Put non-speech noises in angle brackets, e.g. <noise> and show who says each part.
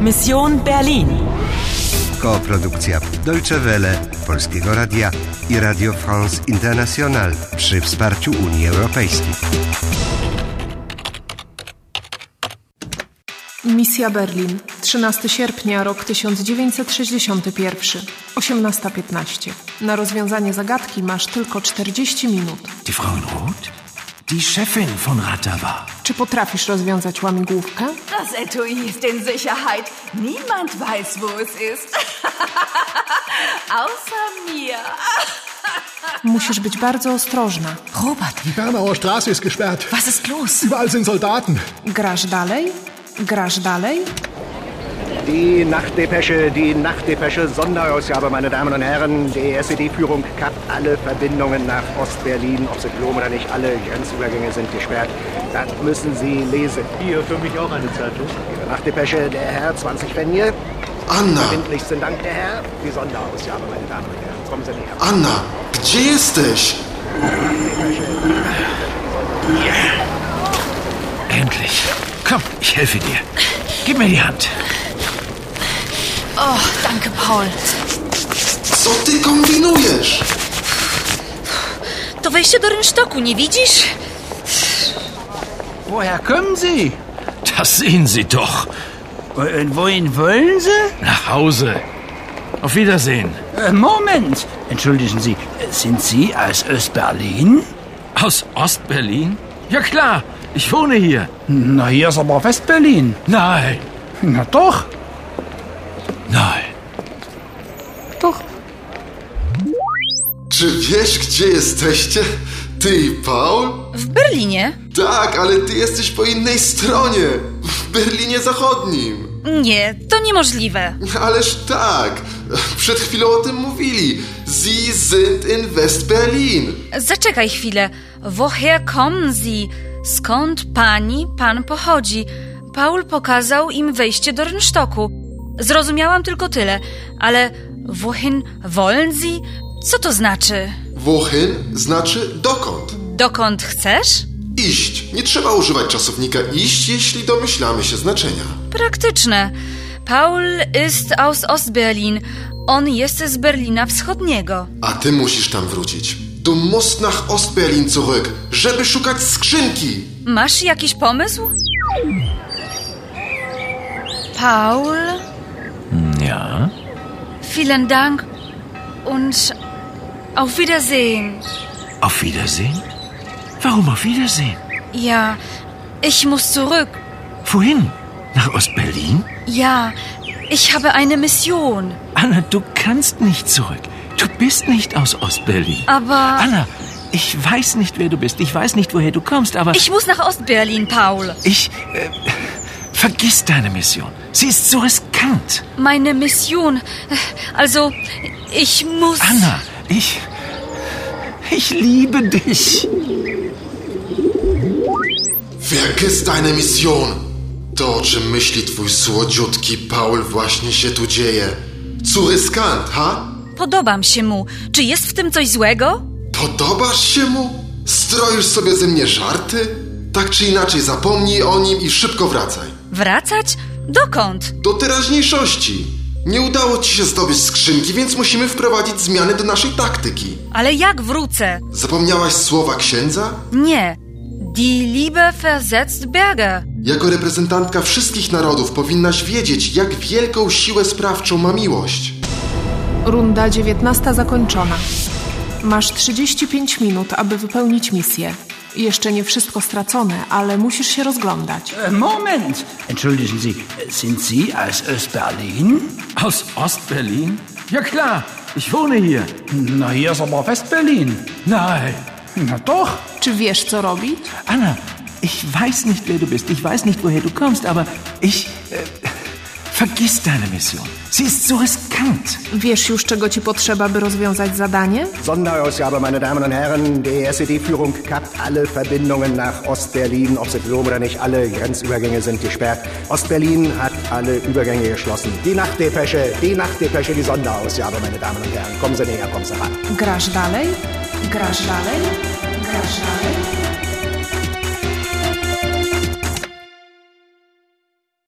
Speaker 1: Mission Berlin.
Speaker 2: Koprodukcja Deutsche Welle, Polskiego Radia i Radio France International przy wsparciu Unii Europejskiej.
Speaker 3: Misja Berlin, 13 sierpnia, rok 1961, 18.15. Na rozwiązanie zagadki masz tylko 40 minut.
Speaker 4: Die Frau in Rot? Die Chefin von Ratava.
Speaker 3: Czy potrafisz rozwiązać łamigłówkę?
Speaker 5: Das Etui ist in Sicherheit. Niemand weiß, wo es ist. <laughs> Außer mir.
Speaker 3: Musisz być bardzo ostrożna.
Speaker 6: Robert,
Speaker 7: Die Bernauer Straße ist gesperrt.
Speaker 6: was ist los?
Speaker 7: Überall sind Soldaten.
Speaker 3: Grasz dalej? Grasz dalej?
Speaker 8: Die Nachtdepesche, die Nachtdepesche, Sonderausgabe, meine Damen und Herren. Die SED-Führung kappt alle Verbindungen nach Ostberlin, ob sie glauben oder nicht. Alle Grenzübergänge sind gesperrt. Das müssen Sie lesen.
Speaker 9: Hier, für mich auch eine Zeitung.
Speaker 8: Ihre Nachtdepesche, der Herr, 20 Fenje.
Speaker 10: Anna,
Speaker 8: Bindlichsten Dank, der Herr. Die Sonderausgabe, meine Damen und Herren. Kommen Sie näher.
Speaker 10: Anna, gdzie jesteś?
Speaker 4: Endlich. Komm, ich helfe dir. Gib mir die Hand.
Speaker 5: Oh, danke, Paul.
Speaker 10: Co ty kombinujesz?
Speaker 5: To wejście do rynsztoku, nie widzisz?
Speaker 9: Woher kommen Sie?
Speaker 4: Das sehen Sie doch.
Speaker 9: Und wohin wollen Sie?
Speaker 4: Nach Hause. Auf Wiedersehen.
Speaker 9: Äh, Moment. Entschuldigen Sie, äh, sind Sie aus Ostberlin?
Speaker 4: Aus Ostberlin? Ja klar, ich wohne hier.
Speaker 9: Na, hier ist aber Westberlin.
Speaker 4: Nein,
Speaker 9: Na doch.
Speaker 4: nein.
Speaker 9: Doch.
Speaker 10: Czy wiesz, gdzie jesteście? Ty i Paul?
Speaker 5: W Berlinie?
Speaker 10: Tak, ale ty jesteś po innej stronie. W Berlinie Zachodnim.
Speaker 5: Nie, to niemożliwe.
Speaker 10: Ależ tak. Przed chwilą o tym mówili. Sie sind in West-Berlin.
Speaker 5: Zaczekaj chwilę. Woher kommen Sie? Skąd pani, pan pochodzi? Paul pokazał im wejście do rynsztoku. Zrozumiałam tylko tyle, ale wohin wollen Sie? Co to znaczy?
Speaker 10: Wohin znaczy dokąd.
Speaker 5: Dokąd chcesz?
Speaker 10: Iść. Nie trzeba używać czasownika iść, jeśli domyślamy się znaczenia.
Speaker 5: Praktyczne. Paul ist aus Ostberlin. On jest z Berlina Wschodniego.
Speaker 10: A ty musisz tam wrócić. Du musst nach Ostberlin zurück, żeby szukać skrzynki.
Speaker 5: Masz jakiś pomysł? Paul,
Speaker 4: Ja?
Speaker 5: vielen Dank und auf Wiedersehen.
Speaker 4: Auf Wiedersehen? Warum auf Wiedersehen?
Speaker 5: Ja, ich muss zurück.
Speaker 4: Wohin? Nach Ostberlin?
Speaker 5: Ja, ich habe eine Mission.
Speaker 4: Anna, du kannst nicht zurück. Du bist nicht aus Ostberlin.
Speaker 5: Aber-
Speaker 4: Anna, ich weiß nicht, wer du bist. Ich weiß nicht, woher du kommst, aber
Speaker 5: Ich muss nach Ostberlin, Paul.
Speaker 4: ich äh, vergiss deine Mission. Sie ist so riskant.
Speaker 5: Meine Mission. Also, ich muss.
Speaker 4: Anna, ich. Ich liebe dich.
Speaker 10: Vergiss deine Mission. To, o czym myśli twój słodziutki Paul, właśnie się tu dzieje. Zu riskant, ha?
Speaker 5: Podobam się mu. Czy jest w tym coś złego?
Speaker 10: Podobasz się mu? Stroisz sobie ze mnie żarty? Tak czy inaczej, zapomnij o nim i szybko wracaj.
Speaker 5: Wracać? Dokąd?
Speaker 10: Do teraźniejszości. Nie udało ci się zdobyć skrzynki, więc musimy wprowadzić zmiany do naszej taktyki.
Speaker 5: Ale jak wrócę?
Speaker 10: Zapomniałaś słowa księdza?
Speaker 5: Nie. Die Liebe versetzt Berge.
Speaker 10: Jako reprezentantka wszystkich narodów powinnaś wiedzieć, jak wielką siłę sprawczą ma miłość.
Speaker 3: Runda 19 zakończona. Masz 35 minut, aby wypełnić misję. Jeszcze nie wszystko stracone, ale musisz się rozglądać.
Speaker 9: Äh, Moment. Entschuldigen Sie, äh, sind Sie aus Ostberlin?
Speaker 4: Aus Ostberlin? Ja klar, ich wohne hier.
Speaker 9: Na, hier ist aber Westberlin.
Speaker 4: Nein.
Speaker 9: Na doch.
Speaker 3: Czy wiesz, co robić?
Speaker 4: Anna, ich weiß nicht, wer du bist. Ich weiß nicht, woher du kommst, aber ich. Äh, vergiss deine Mission. Sie ist so riskant.
Speaker 3: Wiesz już, czego ci potrzeba, by rozwiązać zadanie?
Speaker 8: Sonderausgabe, meine Damen und Herren. Die SED-Führung kappt alle Verbindungen nach Ostberlin, ob sie glauben oder nicht. Alle Grenzübergänge sind gesperrt. Ostberlin hat alle Übergänge geschlossen. Die Nachtdepesche, die Nachtdepesche, die Sonderausgabe, meine Damen und Herren. Kommen Sie näher, kommen Sie ran.
Speaker 3: Grasz dalej? Grasz dalej? Grasz dalej?